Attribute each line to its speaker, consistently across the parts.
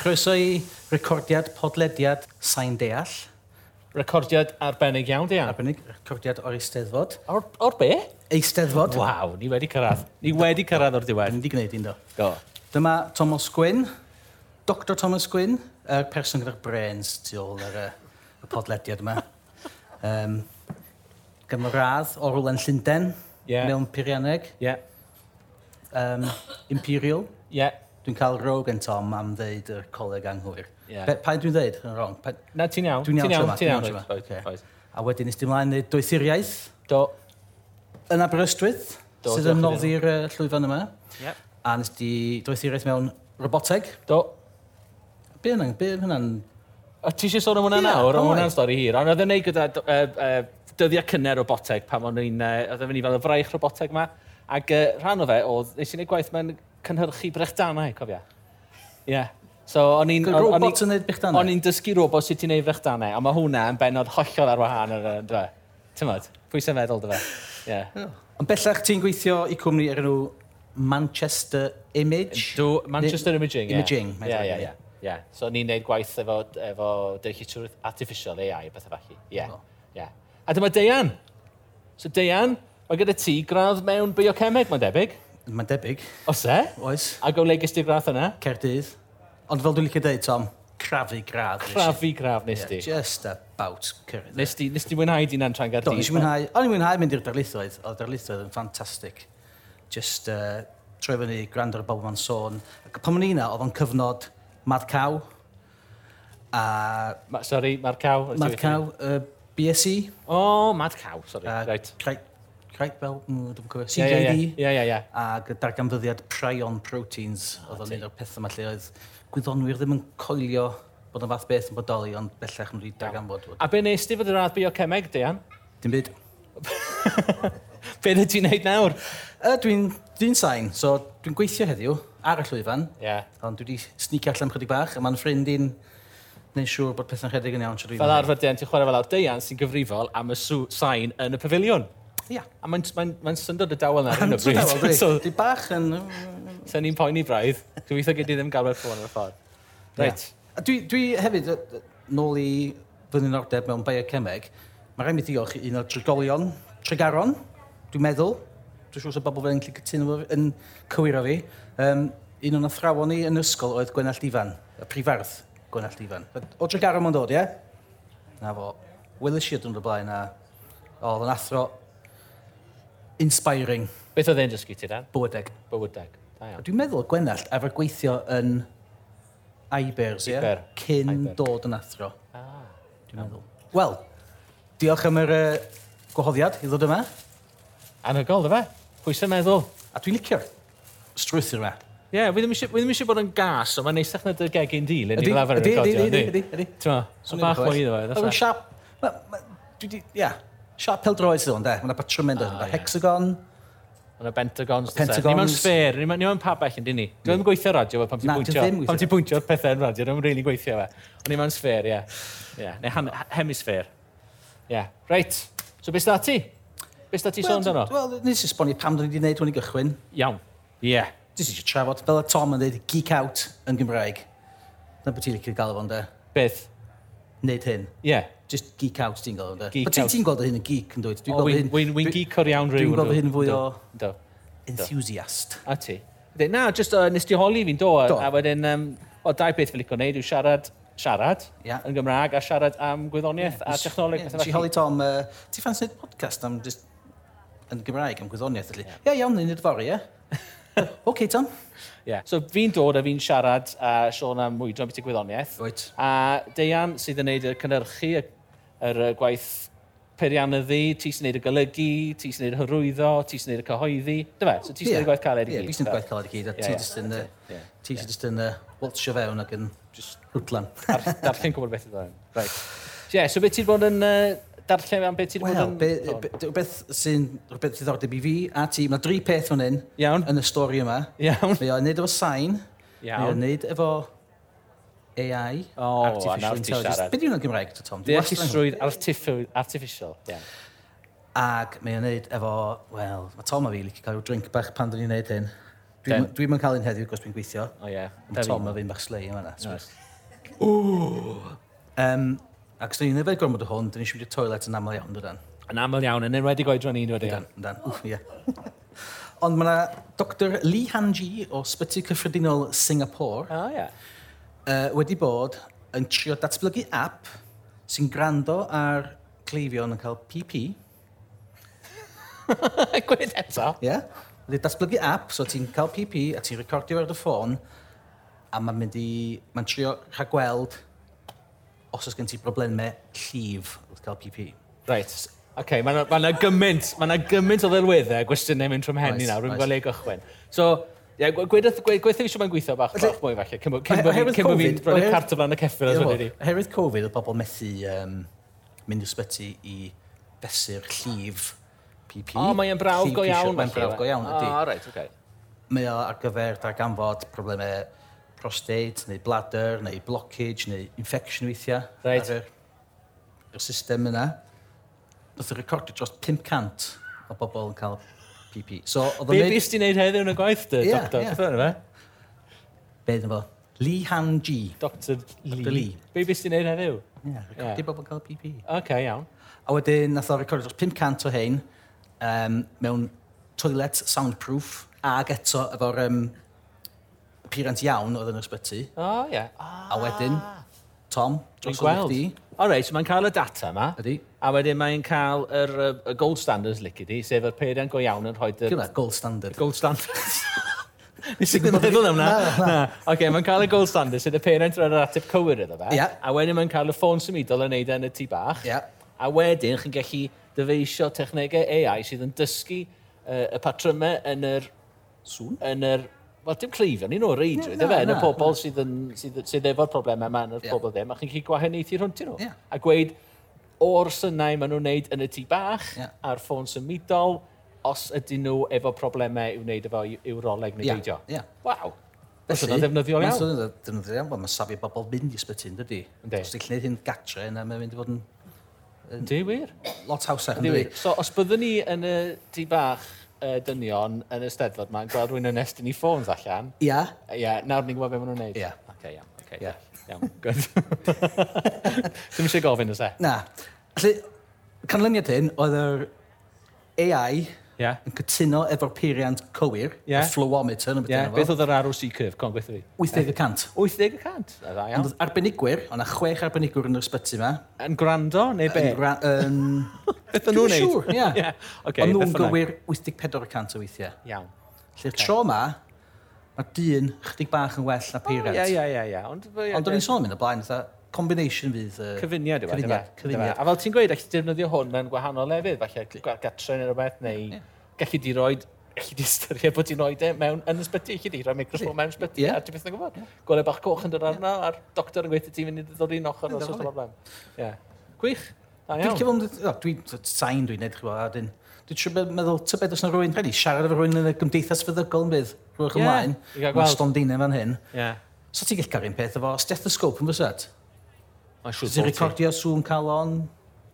Speaker 1: Croeso i recordiad podlediad Sain Deall.
Speaker 2: Recordiad arbennig iawn, di iawn.
Speaker 1: Arbennig recordiad o'r Eisteddfod.
Speaker 2: O'r, or be?
Speaker 1: Eisteddfod.
Speaker 2: Waw, ni wedi cyrraedd. Ni wedi cyrraedd o'r
Speaker 1: Ni
Speaker 2: diwedd.
Speaker 1: wedi gwneud un do.
Speaker 2: Go.
Speaker 1: Dyma Thomas Gwyn, Dr Thomas Gwyn, y person gyda'r brains tu ôl ar y, y podlediad yma. Um, Gymradd o Rwlen Llundain,
Speaker 2: Ie.
Speaker 1: mewn peirianneg,
Speaker 2: Ie,
Speaker 1: um, Imperial.
Speaker 2: ie.
Speaker 1: Dwi'n cael rog yn Tom am ddeud y coleg anghywir.
Speaker 2: Ie.
Speaker 1: Be- Pa'n dwi'n ddeud yn wrong? Pa,
Speaker 2: Na, ti'n iawn.
Speaker 1: Dwi'n iawn
Speaker 2: ti'n
Speaker 1: tro 'ma,
Speaker 2: iawn, ti'n
Speaker 1: dwi'n iawn
Speaker 2: iawn.
Speaker 1: tro 'ma.
Speaker 2: Reit, reit,
Speaker 1: Ocê.
Speaker 2: reit.
Speaker 1: a wedyn ysdi mlaen i doethuriaeth
Speaker 2: Do.
Speaker 1: yn Aberystwyth,
Speaker 2: Do,
Speaker 1: sydd yn
Speaker 2: diolch yn
Speaker 1: noddi'r uh, llwyfan yma.
Speaker 2: Ie.
Speaker 1: A nes di doethuriaeth mewn roboteg.
Speaker 2: Do.
Speaker 1: Be yna? Be yna? hwnna'n-
Speaker 2: A ti eisiau sôn am hwnna
Speaker 1: Ie,
Speaker 2: nawr, am
Speaker 1: alright.
Speaker 2: hwnna'n stori hir. Ond oedd yn neud gyda yy, yy, dyddiau cynnar roboteg pam o'n i'n... yy, Oedd yn fynd i fel y fraich roboteg yma. Ac yy, rhan o fe oedd, nes i'n neud gwaith mewn cynhyrchu brechdanau, cofia. Ie. So, o'n i'n... o'n- o'n
Speaker 1: Robots
Speaker 2: i'n-
Speaker 1: yn neud bych dan.
Speaker 2: O'n i'n dysgu robot sut i wneud frechdannau, a mae hwnna yn benod hollol ar wahân yn y dwe. Tymod, pwy sy'n meddwl dy fe? Yeah.
Speaker 1: Ond bellach ti'n gweithio i cwmni ar enw Manchester Image.
Speaker 2: Do Manchester Imaging, ie.
Speaker 1: Imaging, mae'n
Speaker 2: Ie,
Speaker 1: rhaid i
Speaker 2: ie,
Speaker 1: ni.
Speaker 2: ie. Ie, so ni'n neud gwaith efo, efo dealltwriaeth artificial, AI, a bethau falle. Ie,
Speaker 1: O.
Speaker 2: ie. A dyma Deian. So Deian, mae gyda ti gradd mewn biochemeg, mae'n debyg.
Speaker 1: Mae'n debyg,
Speaker 2: Os e?
Speaker 1: oes,
Speaker 2: Ac o le gysdi gradd yna?
Speaker 1: Cerdydd. Ond fel dwi'n licio deud, Tom, crafu gradd. nes i.
Speaker 2: Crafu graf nes
Speaker 1: Ie,
Speaker 2: di.
Speaker 1: Just about cyrraedd.
Speaker 2: Nes di, nes di wynhau di'n antra'n
Speaker 1: Do, nes i
Speaker 2: gardydd.
Speaker 1: mwynhau, o'n i mwynhau mynd i'r darlithoedd, oedd darlithoedd yn ffantastig. Just uh, troi fyny, gwrando ar y bobl ma'n sôn. Ac Pan o'n i na, oedd o'n cyfnod Mad Cow, a
Speaker 2: Ma, sorry, Mad Cow. nes i
Speaker 1: Mad
Speaker 2: weithio.
Speaker 1: Cow, uh, BSE,
Speaker 2: O, Mad Cow, sorry.
Speaker 1: a
Speaker 2: Right.
Speaker 1: Craig, Craig Bell, mm, dwi'n cofio,
Speaker 2: Ie, ie,
Speaker 1: CJD,
Speaker 2: Ie, ie, ie.
Speaker 1: ac y darganfyddiad Prion Proteins, oedd o'n un o'r pethau yma lle oedd gwyddonwyr ddim yn coelio bod yn fath beth yn bodoli, ond bellach nhw wedi darganfod.
Speaker 2: A be nes ti fod yr adbio cemeg, Dian?
Speaker 1: Dim byd.
Speaker 2: Be ydych ti'n neud nawr?
Speaker 1: Yy, Dwi'n dwi sain, so dwi'n gweithio heddiw ar y llwyfan,
Speaker 2: Ie. Yeah.
Speaker 1: Ond dwi wedi sneak allan chydig bach, a mae'n ffrind i'n gwneud siŵr bod pethau'n rhedeg yn iawn. tra dwi
Speaker 2: Fel
Speaker 1: ddim yn
Speaker 2: arfer, Dian, ti'n chwarae fel awr. Dian sy'n gyfrifol am y sw- sain yn y pafiliwn.
Speaker 1: gwneud. Ia.
Speaker 2: A mae'n mae mae syndod y dawel na ar hyn o
Speaker 1: Dwi'n meddwl,
Speaker 2: bryd.
Speaker 1: dwi-
Speaker 2: so,
Speaker 1: Dwi bach yn...
Speaker 2: so ni'n poeni braidd. Dwi'n weithio gyd i ddim gael werth o'n y ffordd. Reit.
Speaker 1: A Dwi, dwi hefyd, yy, yy, nôl i fy nynordeb mewn biochemeg, mae rhaid mi ddiolch i un o'r trigolion, trigaron, dwi'n meddwl, dwi'n siŵr sy'n bobl fel yn gallu cytuno efo- yn cywiro fi, um, un o'n athrawon ni yn ysgol oedd Gwenallt Ifan, y prifardd Gwenallt Ifan. O trigaron ma'n dod, ie? Na fo, welis i o dwi'n blaen a oedd yn athro inspiring
Speaker 2: Beth oedd e'n dysgu ti, Dan?
Speaker 1: bywydeg.
Speaker 2: Bywydeg. Da iawn.
Speaker 1: Dwi'n meddwl Gwenallt efo gweithio yn Ibers, ie?
Speaker 2: Iber.
Speaker 1: Cyn
Speaker 2: Iber.
Speaker 1: dod yn athro.
Speaker 2: Ah.
Speaker 1: Dwi'n meddwl. Wel, diolch am yr uh, gwahoddiad i ddod yma.
Speaker 2: Anhygol, dy fe? Pwy sy'n meddwl?
Speaker 1: A dwi'n licio'r strwythur yma.
Speaker 2: Ie, yeah, fi ddim eisiau bod yn gas, ond mae'n neisach na dy gegin di, le ni'n
Speaker 1: Ydi,
Speaker 2: lafar yn
Speaker 1: ydi,
Speaker 2: y godio.
Speaker 1: ydi, ydi, ydi.
Speaker 2: Ti'n ma, bach mwy iddo fe.
Speaker 1: Oedd
Speaker 2: fatha.
Speaker 1: yn siap... ma- ma- Dwi di... Ia. Siap peldroed sydd o'n de. Mae'n patrwm mynd o'n.
Speaker 2: Ah, ie.
Speaker 1: Hexagon.
Speaker 2: Yn y
Speaker 1: Pentagons.
Speaker 2: Pentagons. Pentagons. Ni mewn sfer, ni mewn, ni mewn pa bell yn dyn ni. Dwi ddim yn gweithio radio fe pan ti'n
Speaker 1: Na, dwi
Speaker 2: bwyntio.
Speaker 1: ddim yn
Speaker 2: Pan
Speaker 1: gweithio.
Speaker 2: ti'n bwyntio pethau yn radio, dwi'n rili gweithio fe. Ond ni mewn sfer, ie. Ie, neu han- hemisfer. Ie, reit. So beth da ti? Beth da ti sôn
Speaker 1: Wel,
Speaker 2: dyno?
Speaker 1: Wel, nes i sbonio pam dwi'n wedi gwneud hwn i gychwyn.
Speaker 2: Iawn. Ie.
Speaker 1: Dwi'n eisiau trafod. Fel y Tom yn dweud, geek out yn Gymraeg. Na beth ti'n licio gael fo'n de.
Speaker 2: Beth?
Speaker 1: Wneud hyn.
Speaker 2: Ie.
Speaker 1: Just geek out ti'n gael fo'n de.
Speaker 2: Geek
Speaker 1: But ti-
Speaker 2: out. Oh,
Speaker 1: ti'n gweld o hyn yn geek yn dweud. Dwi'n
Speaker 2: O,
Speaker 1: gweld o
Speaker 2: Wy'n
Speaker 1: hyn...
Speaker 2: wy'n- wy'n
Speaker 1: dwi-
Speaker 2: geek o'r iawn rhyw.
Speaker 1: Dwi'n gweld o hyn fwy o
Speaker 2: Do.
Speaker 1: enthusiast.
Speaker 2: A ti? Ydy, Na, just uh, nes di holi fi'n do.
Speaker 1: Do.
Speaker 2: A wedyn, um, o, dau beth fel i'w gwneud yw siarad, siarad
Speaker 1: Ie.
Speaker 2: yn Gymraeg a siarad am gwyddoniaeth a technoleg.
Speaker 1: Ie,
Speaker 2: pethe
Speaker 1: Nes i
Speaker 2: felly.
Speaker 1: holi Tom, uh, ti ffans wneud podcast am just yn Gymraeg, am gwyddoniaeth felly. Ie, iawn, ni'n neud fory, ie? OK, Tom.
Speaker 2: Yeah. So fi'n dod a fi'n siarad a uh, Sean am mwydro am beth i gwyddoniaeth.
Speaker 1: Wyt.
Speaker 2: A Deian sydd yn neud y cynnyrchu, y- yr y gwaith peirianyddi, ti sy'n neud y golygu, ti sy'n neud y hyrwyddo, ti sy'n neud y cyhoeddi. Dyma, so ti sy'n neud y gwaith caled i
Speaker 1: Ie,
Speaker 2: gyd.
Speaker 1: fi sy'n gwaith caled i gyd. a
Speaker 2: Ie,
Speaker 1: Ti
Speaker 2: ie.
Speaker 1: just yn, yy,
Speaker 2: Ie.
Speaker 1: ti sy'n just yn yy, waltsio fewn ac yn just hwtlan.
Speaker 2: Dar, darllen gwybod beth ydyn. Right. So, yeah, so beth ti'n bod yn... Uh, darllen am beth ti'n
Speaker 1: Wel,
Speaker 2: bod yn...
Speaker 1: be- be- rhywbeth sy'n rhywbeth ddiddordeb i fi a ti, mae dri peth fan hyn
Speaker 2: Iawn.
Speaker 1: yn y stori yma.
Speaker 2: Iawn.
Speaker 1: Mae o'n neud efo sain, mae o'n
Speaker 2: Iawn.
Speaker 1: neud efo AI,
Speaker 2: O, a nawr
Speaker 1: Artificial
Speaker 2: ti'n
Speaker 1: Intelligence.
Speaker 2: siarad.
Speaker 1: Be di hwnna'n Gymraeg, to, Tom? Dwi'n wastad yn-
Speaker 2: Deallusrwydd artiffw- artificial. Yeah.
Speaker 1: Ac mae o'n neud efo, wel, mae Tom a fi licio cael yw drink bach pan dyn ni'n neud hyn. Dwi'm
Speaker 2: Ten.
Speaker 1: dwi'm yn cael un heddiw, gos dwi'n gweithio.
Speaker 2: O ie.
Speaker 1: Ond Tom a fi'n bach slei yma na. Um, ac os ni'n nefyd gormod o hwn, dyn ni eisiau mynd i'r toilet yn aml iawn, dydan.
Speaker 2: Yn aml iawn, yn enwedig oedran ni, wedi.
Speaker 1: Dan, dan, wff, ie. Ond mae yna Dr Lee Han-ji o Sbyty Cyffredinol Singapore
Speaker 2: O ie.
Speaker 1: uh, wedi bod yn trio datblygu app sy'n gwrando ar cleifion yn cael PP.
Speaker 2: Gwyd eto.
Speaker 1: Ie? Yeah? Wedi datblygu app, so ti'n cael PP a ti'n recordio ar dy ffôn a mae'n mynd i... Mae'n trio rhagweld os oes gen ti broblemau llif wrth cael PP.
Speaker 2: Reit. OK, mae yna ma gymaint, mae yna gymaint o ddelweddau, gwestiynau mynd rhwng hen i
Speaker 1: Oes,
Speaker 2: nawr, rwy'n
Speaker 1: oes.
Speaker 2: gweld ei gychwyn. So, ie, gwe- gwedwch fi eisiau mae'n gweithio bach bach mwy falle, cyn bo- cyn bo
Speaker 1: Oherwydd
Speaker 2: fi- cyn bo fi'n
Speaker 1: Covid,
Speaker 2: rhoi'r
Speaker 1: oherwydd-
Speaker 2: cart o flan y ceffyl as wedi ni.
Speaker 1: Herwydd Covid, oedd pobl methu um, mynd i'r sbyty i fesur llif PP.
Speaker 2: O, mae e'n brawf
Speaker 1: llif
Speaker 2: go
Speaker 1: T-shirt,
Speaker 2: iawn.
Speaker 1: Mae'n
Speaker 2: felly,
Speaker 1: brawf
Speaker 2: yw e?
Speaker 1: go iawn, ydy.
Speaker 2: O, reit, OK.
Speaker 1: Mae o ar gyfer darganfod problemau prostate, neu bladder, neu blockage, neu infection weithiau.
Speaker 2: Reit.
Speaker 1: Ar y, y system yna. Nath o recordio dros 500 o bobl yn cael PP. So, oedd o'n
Speaker 2: Be
Speaker 1: neud...
Speaker 2: bys ti'n neud heddiw yn y gwaith, dy,
Speaker 1: Ie,
Speaker 2: doctor?
Speaker 1: ie.
Speaker 2: Beth o'n fe?
Speaker 1: Be ddyn fo? Lee Han G.
Speaker 2: Dr
Speaker 1: Dr.
Speaker 2: Lee.
Speaker 1: Lee.
Speaker 2: Be bys ti'n neud heddiw?
Speaker 1: Yeah, recordio bobl yn cael PP.
Speaker 2: OK, iawn.
Speaker 1: A wedyn, nath o recordio dros 500 o hein um, mewn toilet soundproof ag eto efo'r um, appearance iawn oedd yn yr ysbyty.
Speaker 2: O, ie. Ah.
Speaker 1: A wedyn, Tom,
Speaker 2: Dwi'n
Speaker 1: dros o'n
Speaker 2: gweld.
Speaker 1: chdi.
Speaker 2: O reit, so mae'n cael y data yma.
Speaker 1: Ydy.
Speaker 2: A wedyn mae'n cael yr, yy, y gold standards licydi, sef yr peirian go iawn yn rhoi y
Speaker 1: Gwna, gold standard.
Speaker 2: gold standards. Nes i ddim yn meddwl am na. Na. Oce, mae'n cael y gold standards sydd y peiriant yn yr ateb cywir iddo fe.
Speaker 1: Ie.
Speaker 2: A wedyn mae'n cael y ffôn symudol yn neud e yn y tŷ bach.
Speaker 1: Ie.
Speaker 2: A wedyn chi'n gallu dyfeisio technegau AI sydd yn dysgu uh, y patrymau yn yr...
Speaker 1: Sŵn?
Speaker 2: Yn yr Wel, dim cleifion, ni'n o'r reid,
Speaker 1: Na,
Speaker 2: ydw fe, yn y
Speaker 1: na,
Speaker 2: pobl sydd, yn, sydd, sydd efo'r problemau yma, yn y
Speaker 1: Ie.
Speaker 2: pobl ddim, a chi'n gallu gwahaniaethu rhwntyn nhw.
Speaker 1: Ie.
Speaker 2: A gweud, o'r synnau maen nhw'n wneud yn y tŷ bach,
Speaker 1: Ie.
Speaker 2: a'r ffôn symudol, os ydyn nhw efo problemau i'w wneud efo i'w- i'w roleg neu
Speaker 1: Ie,
Speaker 2: beidio.
Speaker 1: ie.
Speaker 2: Waw! Os yna ddefnyddiol
Speaker 1: Os
Speaker 2: iawn.
Speaker 1: yna ddefnyddiol iawn, wel, mae safi bobl mynd i sbyty, yn dydi?
Speaker 2: Yndi.
Speaker 1: Os ti'n gallu gwneud hyn gatre, yna mae'n mynd i fod yn
Speaker 2: Di wir.
Speaker 1: lot hawsach,
Speaker 2: Di
Speaker 1: yn
Speaker 2: wir.
Speaker 1: dydi?
Speaker 2: So, os byddwn ni yn y tŷ bach uh, dynion yn y steddfod yma, yn gweld rwy'n yn estyn i ffôns allan,
Speaker 1: Ia.
Speaker 2: Ie, yeah, nawr ni'n gwybod beth maen nhw'n neud.
Speaker 1: Ie.
Speaker 2: Oce, iawn. Oce,
Speaker 1: Ie.
Speaker 2: iawn. Good. Ddim eisiau gofyn oes e?
Speaker 1: Na. Felly, canlyniad hyn, oedd yr AI
Speaker 2: Ie.
Speaker 1: yn cytuno efo'r peiriant cywir,
Speaker 2: Ie.
Speaker 1: y flowometer, yn y
Speaker 2: Ie,
Speaker 1: bydden
Speaker 2: beth oedd yr ROC curve, con gweithio fi?
Speaker 1: 80%.
Speaker 2: 80 y cant. A dda
Speaker 1: Ond
Speaker 2: iawn.
Speaker 1: oedd arbenigwyr, ond a chwech arbenigwyr yn yr ysbyty yma.
Speaker 2: Yn gwrando, neu be?
Speaker 1: Yn gra- yn...
Speaker 2: Beth o'n nhw'n
Speaker 1: Dwi'n
Speaker 2: neud?
Speaker 1: siŵr, ie.
Speaker 2: Ie. Oce,
Speaker 1: Ond nhw'n
Speaker 2: beth bynnag.
Speaker 1: gywir 84% o weithiau.
Speaker 2: Iawn.
Speaker 1: Lly'r tro yma, mae dyn chdig bach yn well na
Speaker 2: O, Ie,
Speaker 1: peiriant.
Speaker 2: ie, ie, ie. Ond
Speaker 1: Ond o'n i'n sôn mynd y blaen, eitha combination fydd... yy,
Speaker 2: Cyfuniad yw e, yndyfe?
Speaker 1: Cyfuniad, cyfuniad.
Speaker 2: Yndyfe? A fel ti'n gweud, allai defnyddio hwn mewn gwahanol lefydd, falle gwa- gatre neu rhywbeth, neu gallu di roed, gallu di ystyried bod ti'n roed e mewn yn ysbyty, gallu di roi microfon mewn ysbyty,
Speaker 1: Ie.
Speaker 2: a ti beth yn gwybod. Gole bach coch yn dod arno, a'r doctor yn gweithio ti'n mynd i ddod i'n ochr os oes
Speaker 1: diddorol.
Speaker 2: problem. Ie. Gwych. Da
Speaker 1: Dwi'n
Speaker 2: iawn.
Speaker 1: cyfo am... o, Dwi'n t- sain dwi'n edrych fel, a dwi'n... Dwi'n siŵr be- meddwl, ty beth os yna rhywun, rhaid i siarad efo rhywun yn y gymdeithas feddygol yn bydd, rhywch
Speaker 2: Ie,
Speaker 1: ymlaen,
Speaker 2: i gael
Speaker 1: mae
Speaker 2: gweld.
Speaker 1: stondinau fan hyn.
Speaker 2: Ie.
Speaker 1: So ti'n gallu cael un peth efo stethoscope yn fysad?
Speaker 2: Mae'n siŵr
Speaker 1: Ti'n
Speaker 2: bod ti.
Speaker 1: recordio sŵn cael on,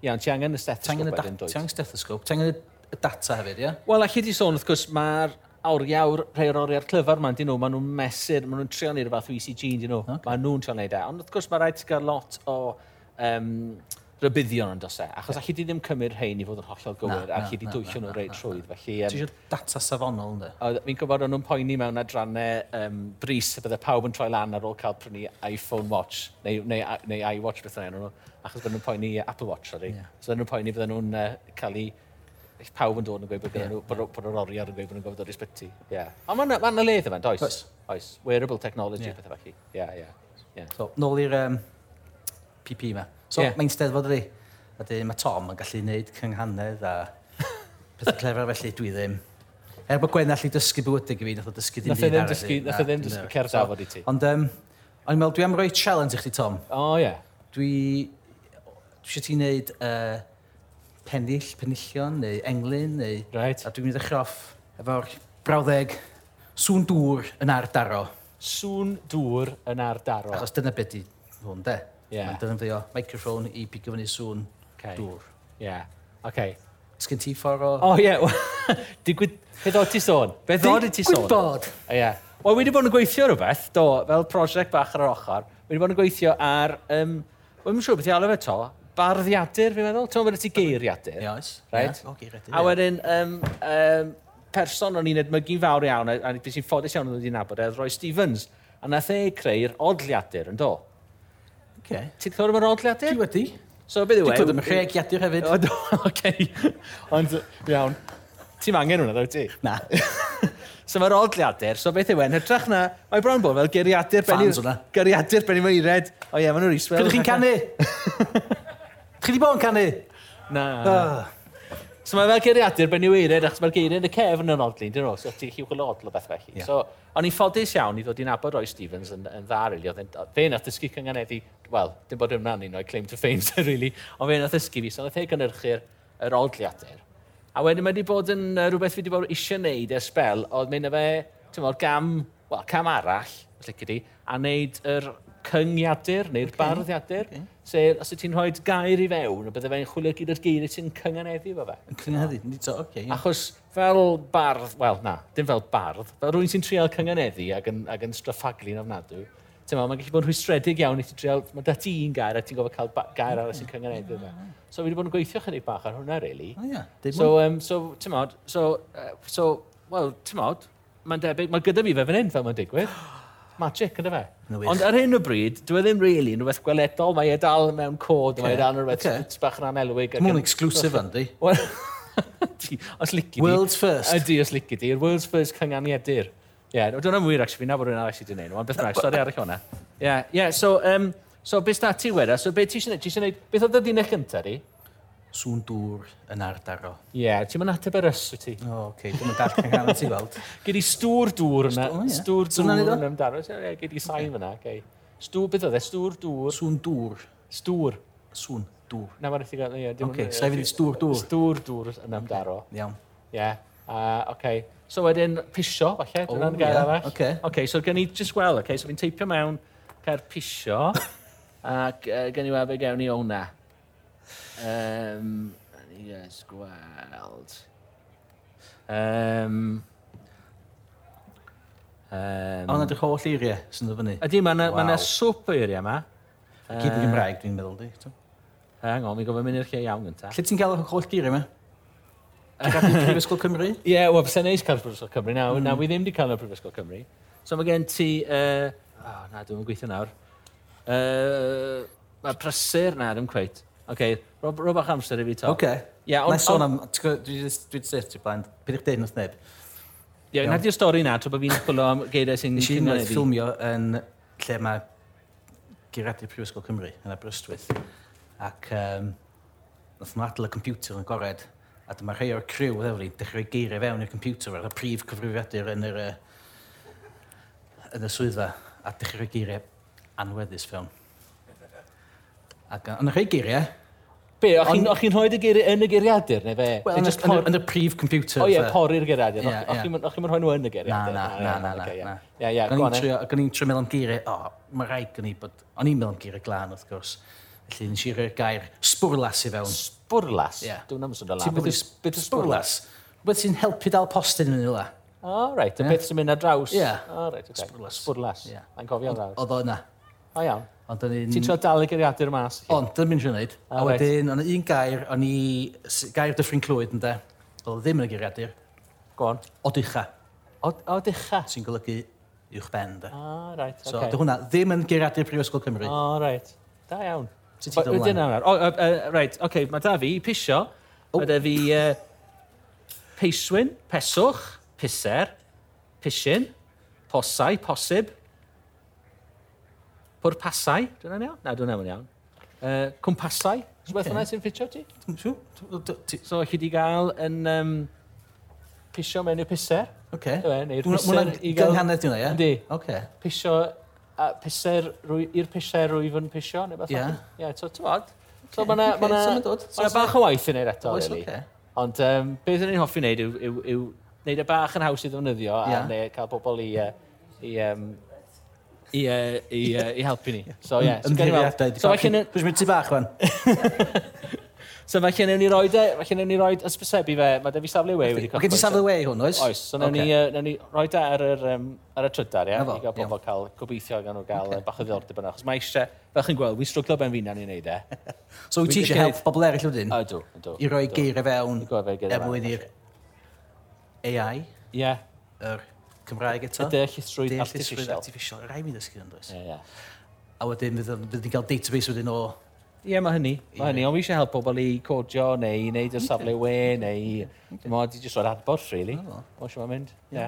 Speaker 2: Iawn, ti angen y
Speaker 1: ti angen y
Speaker 2: stethoscope
Speaker 1: da-
Speaker 2: wedyn,
Speaker 1: ti
Speaker 2: dwyt.
Speaker 1: angen stethoscope, ti angen y data hefyd, ie?
Speaker 2: Wel, allai di sôn, wrth gwrs, mae'r oriawr, rhai o'r oriau'r clyfar ma'n dyn nhw, maen nhw'n mesur, maen nhw'n trio neud fath o E ECG, dyn nhw, okay. maen nhw'n trio neud e. Ond wrth gwrs, mae rhaid ti gael lot o um, rybuddion yn dosau, achos allai di ddim cymryd rhain i fod yn hollol gywir,
Speaker 1: na,
Speaker 2: a allai di
Speaker 1: na,
Speaker 2: dwyllio
Speaker 1: na,
Speaker 2: nhw
Speaker 1: na,
Speaker 2: reit
Speaker 1: na,
Speaker 2: trwydd. Felly,
Speaker 1: Ti
Speaker 2: um,
Speaker 1: eisiau data safonol, ynddo?
Speaker 2: a fi'n gwybod o'n nhw'n poeni mewn adrannau um, bris y bydde pawb yn troi lan ar ôl cael prynu iPhone Watch, neu, neu, neu iWatch beth yna nhw, achos bydden nhw'n poeni Apple Watch, sorry.
Speaker 1: Ie.
Speaker 2: Yeah. So bydden nhw'n poeni bydden nhw'n uh, cael ei... Pawb yn dod yn gweud bod
Speaker 1: Ie.
Speaker 2: yeah. nhw, bod, bod yr oriau yn gweud bod nhw'n gofod o'r ysbyty. Yeah. Ond mae'n ma 'na le iddo fe, does?
Speaker 1: Oes.
Speaker 2: Oes. Wearable
Speaker 1: Ie.
Speaker 2: technology, yeah. pethau felly. Ie, yeah, ie. Yeah. Yeah.
Speaker 1: So, nôl i'r um, PP yma. So,
Speaker 2: Ie.
Speaker 1: yeah. mae'n steddfod ydi. A dyn mae Tom yn gallu gwneud cynghanedd a pethau clefer felly dwi ddim. Er bod Gwenall i dysgu bywydig i fi, nath o dysgu dim
Speaker 2: Nath e
Speaker 1: byd
Speaker 2: ddim
Speaker 1: arall i-
Speaker 2: dysgu- nath e
Speaker 1: na,
Speaker 2: ddim
Speaker 1: na.
Speaker 2: dysgu cerdd
Speaker 1: So,
Speaker 2: dafod i ti.
Speaker 1: Ond, um, o'n i'n meddwl, dwi am roi challenge i chdi, Tom.
Speaker 2: O, ie.
Speaker 1: Dwi... Dwi eisiau ti wneud uh, pennill, pennillion, neu englyn, neu...
Speaker 2: Right.
Speaker 1: A dwi'n mynd i ddechrau off efo'r brawddeg sŵn dŵr yn ardaro.
Speaker 2: Sŵn dŵr yn ardaro.
Speaker 1: Achos dyna beth i hwn, de.
Speaker 2: Ie.
Speaker 1: Mae'n defnyddio microphone i pigo fyny sŵn
Speaker 2: Oce.
Speaker 1: dŵr.
Speaker 2: Ie. Yeah. Okay.
Speaker 1: Sgyn ti ffordd o...
Speaker 2: O ie, wel, digwydd... Beth oedd ti sôn? Beth oedd ti sôn?
Speaker 1: Gwybod.
Speaker 2: Ie. Yeah. Wel, wedi bod yn gweithio rhywbeth, do, fel prosiect bach ar yr ochr. Wedi bod yn gweithio ar, um, wel, mi'n siŵr beth i alw fe to, barddiadur, fi'n meddwl. Ti'n meddwl bod ti geiriadur?
Speaker 1: Yes.
Speaker 2: Right?
Speaker 1: Ie, O, geiriadur.
Speaker 2: A wedyn, um, um, person o'n i'n edmygu'n fawr iawn, a a beth sy'n ffodus iawn o'n i'n nabod, e, oedd Roy Stevens. A nath e creu'r odliadur, yn do?
Speaker 1: Okay.
Speaker 2: Ti'n clywed am yr
Speaker 1: Ti
Speaker 2: odliadur?
Speaker 1: wedi?
Speaker 2: So, beth yw e?
Speaker 1: Ti'n clywed am y rhegiadur hefyd?
Speaker 2: O, do, oce. Ond, iawn. Ti'n angen hwnna, dwi ti?
Speaker 1: Na,
Speaker 2: So mae'r odliadur, so beth yw e'n hytrach na, mae bron bod fel geriadur
Speaker 1: Fans hwnna.
Speaker 2: Geriadur benni meired. O ie, maen nhw'n riswell.
Speaker 1: Pryd ydych chi'n canu? Chi di bod yn canu?
Speaker 2: Na.
Speaker 1: Ah.
Speaker 2: So mae fel geiriadur ben i'w eired, achos mae'r geiriad yn y cefn yn odlin, dyn nhw, so ti'n chi'w gweld odl o beth felly.
Speaker 1: Ie.
Speaker 2: So, o'n i'n ffodus iawn i ddod i'n abod Roy Stevens yn, yn dda, really. Oedd e'n- o- Fe nath ysgu cynganeddi, wel, dim bod yw'n rhan un o'i claim to fame, so, really, ond fe nath ysgu fi, so nath e gynnyrchu'r yr odliadur. A wedyn mae wedi bod yn uh, rhywbeth fi wedi bod eisiau wneud ers spel, oedd mynd â fe, ti'n modd, gam, wel, cam arall, lygu di, a wneud yr cyngiadur, neu'r okay. barddiadur, okay. se, os ydy ti'n rhoi gair i fewn, y bydde fe'n chwilio gyda'r geiriau ti'n cynganeddi efo fe.
Speaker 1: Yn cyngheneddi? Ni to, oce. ie.
Speaker 2: Achos fel bardd, wel na, dim fel bardd, fel rwy'n sy'n trial cyngeneddi ac yn, ac yn straffaglu'n ofnadw, ti'n meddwl, mae'n gallu bod yn rhwystredig iawn i ti trial, mae dati un gair a ti'n gofod cael ba- gair arall sy'n cyngeneddi yma. So fi wedi bod yn gweithio chydig bach ar hwnna, really.
Speaker 1: O ie, deud mwy.
Speaker 2: So, um, so ti'n modd, so, uh, so, wel, ti'n modd, mae'n debyg, mae gyda fi fe fan hyn fel mae'n digwydd. Magic, gyda fe.
Speaker 1: Ma'n wych.
Speaker 2: Ond ar hyn o bryd, dwi ddim really yn rhywbeth gweledol, mae e dal mewn cod, mae e dal yn rhywbeth
Speaker 1: Ocê.
Speaker 2: okay. bach yn anelwig. ac
Speaker 1: Mae'n
Speaker 2: yn-
Speaker 1: exclusive yn di.
Speaker 2: Wel, ti- os lici di.
Speaker 1: World's first.
Speaker 2: Ydy, os lici di. Yr world's first cynganiadur. Ie, yeah, dwi'n am wir, actually, fi'n nabod rhywun arall sydd wedi'i gwneud nhw, ond beth bynnag, stori arall hwnna. Ie, yeah, yeah, so, um, so beth da ti weda? So, beth ti eisiau gwneud? Ti eisiau gwneud, beth oedd y ddynau cynta di? Ie,
Speaker 1: Sŵn dŵr yn ardaro.
Speaker 2: yeah, ti'n mynd ateb ar ys, wyt ti?
Speaker 1: O, oce, dwi'n dall cynghenedd ti weld.
Speaker 2: Gyd i stŵr dŵr yna.
Speaker 1: Stŵr, ie.
Speaker 2: Stŵr
Speaker 1: So hwnna'n
Speaker 2: dŵr
Speaker 1: neud o?
Speaker 2: yna amdano. Ie, gyd i sain fyna, gei. Stŵr, beth oedd e? Stŵr dŵr.
Speaker 1: Sŵn dŵr.
Speaker 2: Stŵr.
Speaker 1: Sŵn dŵr.
Speaker 2: Na, mae'n rhaid i gael, ie. dim-
Speaker 1: Oce, sa'i fynd i stŵr dŵr.
Speaker 2: Stŵr dŵr yna amdano.
Speaker 1: Iawn.
Speaker 2: Ie. Yeah. Uh, okay. So wedyn pisio, falle,
Speaker 1: O,
Speaker 2: dyna'n gair
Speaker 1: ie,
Speaker 2: arall.
Speaker 1: ocê.
Speaker 2: okay, so gen i just gweld, okay, so fi'n teipio mewn cair pisio, ac uh, gen i weld be gewn ni o'na. Um, i just gweld. Um,
Speaker 1: A hwnna
Speaker 2: um,
Speaker 1: di'r holl eiriau sy'n dod fyny.
Speaker 2: Ydy, mae yna wow.
Speaker 1: Waw.
Speaker 2: swp o eiriau yma.
Speaker 1: Gyd yn Gymraeg, dwi'n meddwl di. t'o.
Speaker 2: Hang on, mi gofyn mynd i'r lle iawn gyntaf.
Speaker 1: Lle ti'n gael y holl geiriau yma? Ti'n gael Prifysgol Cymru?
Speaker 2: Ie, yeah, wel, bysau neis cael Prifysgol Cymru nawr.
Speaker 1: Mm-hmm.
Speaker 2: Mm. Nawr, wi ddim wedi cael y Prifysgol Cymru. So mae gen ti... Uh, oh, na, dwi'n gweithio nawr. Uh, mae prysur, na, dwi'n cweith. Oce, okay, rob, rob bach amser i fi to.
Speaker 1: Oce.
Speaker 2: Ie, ond-
Speaker 1: Na i sôn am... ti'n gwbod, Dwi wedi sef ti blaen. Pyd i'ch deud wrth neb.
Speaker 2: Ie, na di'r stori na, tra bod fi'n chwilio am geiriau sy'n
Speaker 1: Nes i unwaith
Speaker 2: cynghaneddi.
Speaker 1: ffilmio yn lle mae geiriadur Prifysgol Cymru yn Aberystwyth. Ac um, nath nhw adl y computer yn gored. A dyma rhai o'r criw oedd efo ni dechrau rhoi geiriau fewn i'r computer ar y prif cyfrifiadur yn yr, uh, yn y swyddfa. A dechrau rhoi geiriau anweddus fewn. Ac uh, yn y rhai geiriau,
Speaker 2: Be, o'ch chi'n
Speaker 1: Ond-
Speaker 2: on... rhoi y geiriau yn y geiriadur, neu be?
Speaker 1: well,
Speaker 2: Neu
Speaker 1: yn,
Speaker 2: jyst
Speaker 1: y- yn,
Speaker 2: por-
Speaker 1: y- yn y prif computer.
Speaker 2: O ie,
Speaker 1: fatha.
Speaker 2: pori'r geiriadur.
Speaker 1: Ie,
Speaker 2: O'ch
Speaker 1: ie.
Speaker 2: chi'n mynd rhoi nhw yn y
Speaker 1: Na,
Speaker 2: geiriadur?
Speaker 1: na, na, na, na,
Speaker 2: ocê, ie.
Speaker 1: na.
Speaker 2: Ie, ie,
Speaker 1: Ac o'n i'n
Speaker 2: go on, e.
Speaker 1: trio- Ac o'n i'n trio meddwl am geiriau, o, mae rhaid gen i bod... O'n i'n meddwl am geiriau glân, wrth gwrs. Felly, nes i roi'r gair sbwrlas i fewn.
Speaker 2: Sbwrlas?
Speaker 1: Ie.
Speaker 2: Dwi'n am sôn o la.
Speaker 1: Ti'n bod
Speaker 2: Beth
Speaker 1: i sbwrlas? Rwy'n sy'n helpu dal postyn yn yla.
Speaker 2: O, reit, y beth sy'n mynd ar draws.
Speaker 1: Ie.
Speaker 2: O, reit, okay.
Speaker 1: Sbwrlas.
Speaker 2: Sbwrlas.
Speaker 1: Ie.
Speaker 2: Mae'n cofio ar draws.
Speaker 1: Oedd o yna.
Speaker 2: O, iawn.
Speaker 1: Ond o'n
Speaker 2: Ti'n
Speaker 1: i'n...
Speaker 2: trio dal y geiriadur mas? chi?
Speaker 1: Ond, dyna mi'n siŵr wneud.
Speaker 2: Ah,
Speaker 1: A
Speaker 2: reit.
Speaker 1: wedyn, o'n un gair, o'n i... s- Gair dyffryn clwyd, ynde? Oedd o ddim yn y geiriadur.
Speaker 2: Go on.
Speaker 1: Odycha,
Speaker 2: O, o dycha.
Speaker 1: sy'n golygu uwch ben, ynde?
Speaker 2: O, reit,
Speaker 1: So, dy
Speaker 2: oce.
Speaker 1: hwnna ddim yn geiriadur Prifysgol Cymru.
Speaker 2: Ah, O, reit. Da iawn.
Speaker 1: Sut ti'n
Speaker 2: Wel,
Speaker 1: dod ymlaen?
Speaker 2: ydyn nawr. O, y- y- reit, oce, mae da fi pisio. Mae da fi yy, peiswyn, peswch, piser, pisyn, posau, posib, pwrpasau, dwi'n iawn? Na, dwi'n iawn. Yy, Cwmpasau, rhywbeth
Speaker 1: Ocê.
Speaker 2: hwnna sy'n ffitio ti?
Speaker 1: Dwi'n siŵr. Dw- dw- ti-
Speaker 2: So, chi di gael yn um, pisio mewn i'r piser.
Speaker 1: Oce.
Speaker 2: Yw e, neu'r
Speaker 1: Mwna'n
Speaker 2: piser i gael...
Speaker 1: gynghanedd dwi'n ie?
Speaker 2: Yndi.
Speaker 1: Oce.
Speaker 2: Pisio a piser rwy- i'r piser rwyf yn pisio, neu beth
Speaker 1: Ie.
Speaker 2: Ie, so, ti'n bod? So,
Speaker 1: Ocê,
Speaker 2: ma' 'na
Speaker 1: ocê,
Speaker 2: ma' na-
Speaker 1: so ma'n dod.
Speaker 2: ma' 'na
Speaker 1: So-
Speaker 2: bach o waith i wneud eto,
Speaker 1: Oes,
Speaker 2: really.
Speaker 1: oce.
Speaker 2: Ond um, beth ni'n hoffi wneud yw, yw, yw wneud y bach yn haws i ddefnyddio a
Speaker 1: Ie.
Speaker 2: neu cael pobl i, uh, i, um, i, uh, i, uh, i helpu ni. So, ie. Yeah, so, gen i weld-
Speaker 1: Ymddiriedaid.
Speaker 2: so,
Speaker 1: So,
Speaker 2: felly yn y-
Speaker 1: Dwi'n mynd ti bach fan.
Speaker 2: So mae lle newn ni roed e, mae lle newn ni roed ysbysebu fe, mae Defi Safle Wei wedi
Speaker 1: Mae gen ti safle wei hwn, oes?
Speaker 2: Oes, so newn ni,
Speaker 1: Ocê.
Speaker 2: yy, newn ni roed e ar yr, um, ar y trydar, ie?
Speaker 1: Na fo,
Speaker 2: I gael
Speaker 1: iawn.
Speaker 2: pobl cael, gobeithio gan nhw gael
Speaker 1: Ocê.
Speaker 2: okay. bach o ddiddordeb yna. Achos mae eisiau, fel chi'n gweld, we struglo ben fi'n na'n i wneud e.
Speaker 1: So wyt ti
Speaker 2: Dwi'n
Speaker 1: eisiau
Speaker 2: gwneud-
Speaker 1: help bobl eraill wedyn?
Speaker 2: O, dw, dw.
Speaker 1: I roi
Speaker 2: dw.
Speaker 1: geiriau fewn
Speaker 2: I gofio fe geiriau
Speaker 1: er mwyn
Speaker 2: fewn,
Speaker 1: i'r AI,
Speaker 2: Ie,
Speaker 1: yr Cymraeg eto.
Speaker 2: deallusrwydd
Speaker 1: Deall llysrwydd
Speaker 2: artificial.
Speaker 1: artificial. Rai mi ddysgu yn dweud.
Speaker 2: Ie, ie.
Speaker 1: A wedyn fydd o'n- fydd ni'n cael database wedyn o
Speaker 2: Ie, mae hynny.
Speaker 1: Ie.
Speaker 2: Mae hynny, ond fi eisiau help pobl i codio, neu i wneud y safle we, neu... Dim ond, i just roed adborth, really.
Speaker 1: Na fo.
Speaker 2: Oes yma'n mynd. Ie.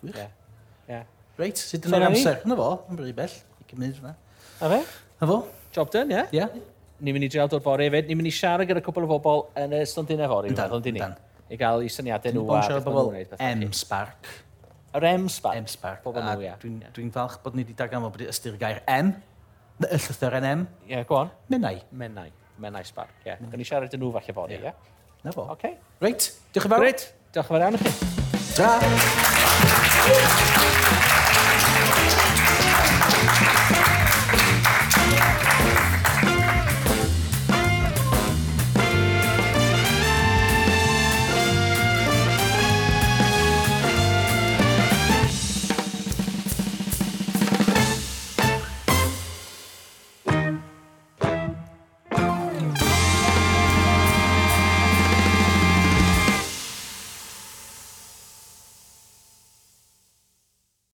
Speaker 1: Gwych.
Speaker 2: Hmm? Ie. Ie.
Speaker 1: Reit, sydd
Speaker 2: So
Speaker 1: yn yr
Speaker 2: na ni.
Speaker 1: amser? Na fo, yn bryd bell. I gymryd fyna.
Speaker 2: A fe?
Speaker 1: Na fo?
Speaker 2: Job done, ie?
Speaker 1: Ia?
Speaker 2: Ni'n mynd i dreul dod fory efo. Ni'n mynd i siarad gyda cwpl o bobl yn y stondinau fory.
Speaker 1: Yndan,
Speaker 2: Yndan, yndan.
Speaker 1: yndan.
Speaker 2: I gael i syniadau nhw
Speaker 1: Dwi'n
Speaker 2: a
Speaker 1: siarad
Speaker 2: beth maen
Speaker 1: bobl
Speaker 2: nhw'n gwneud, beth
Speaker 1: M
Speaker 2: felly.
Speaker 1: Spark.
Speaker 2: Yr M spark.
Speaker 1: M Spark.
Speaker 2: Pobl
Speaker 1: A
Speaker 2: nhw, ie.
Speaker 1: Dwi'n dwi'n falch bod ni wedi darganfod bod ystyr y gair M. Y llythyr yn M.
Speaker 2: Ie, go on.
Speaker 1: Minnau.
Speaker 2: Menai. Menai spark, ie. Gan i siarad yn nhw falle fory, ie?
Speaker 1: Na fo.
Speaker 2: Oce.
Speaker 1: Reit, diolch yn fawr.
Speaker 2: Greit. Diolch yn fawr iawn i chi.
Speaker 1: Ta!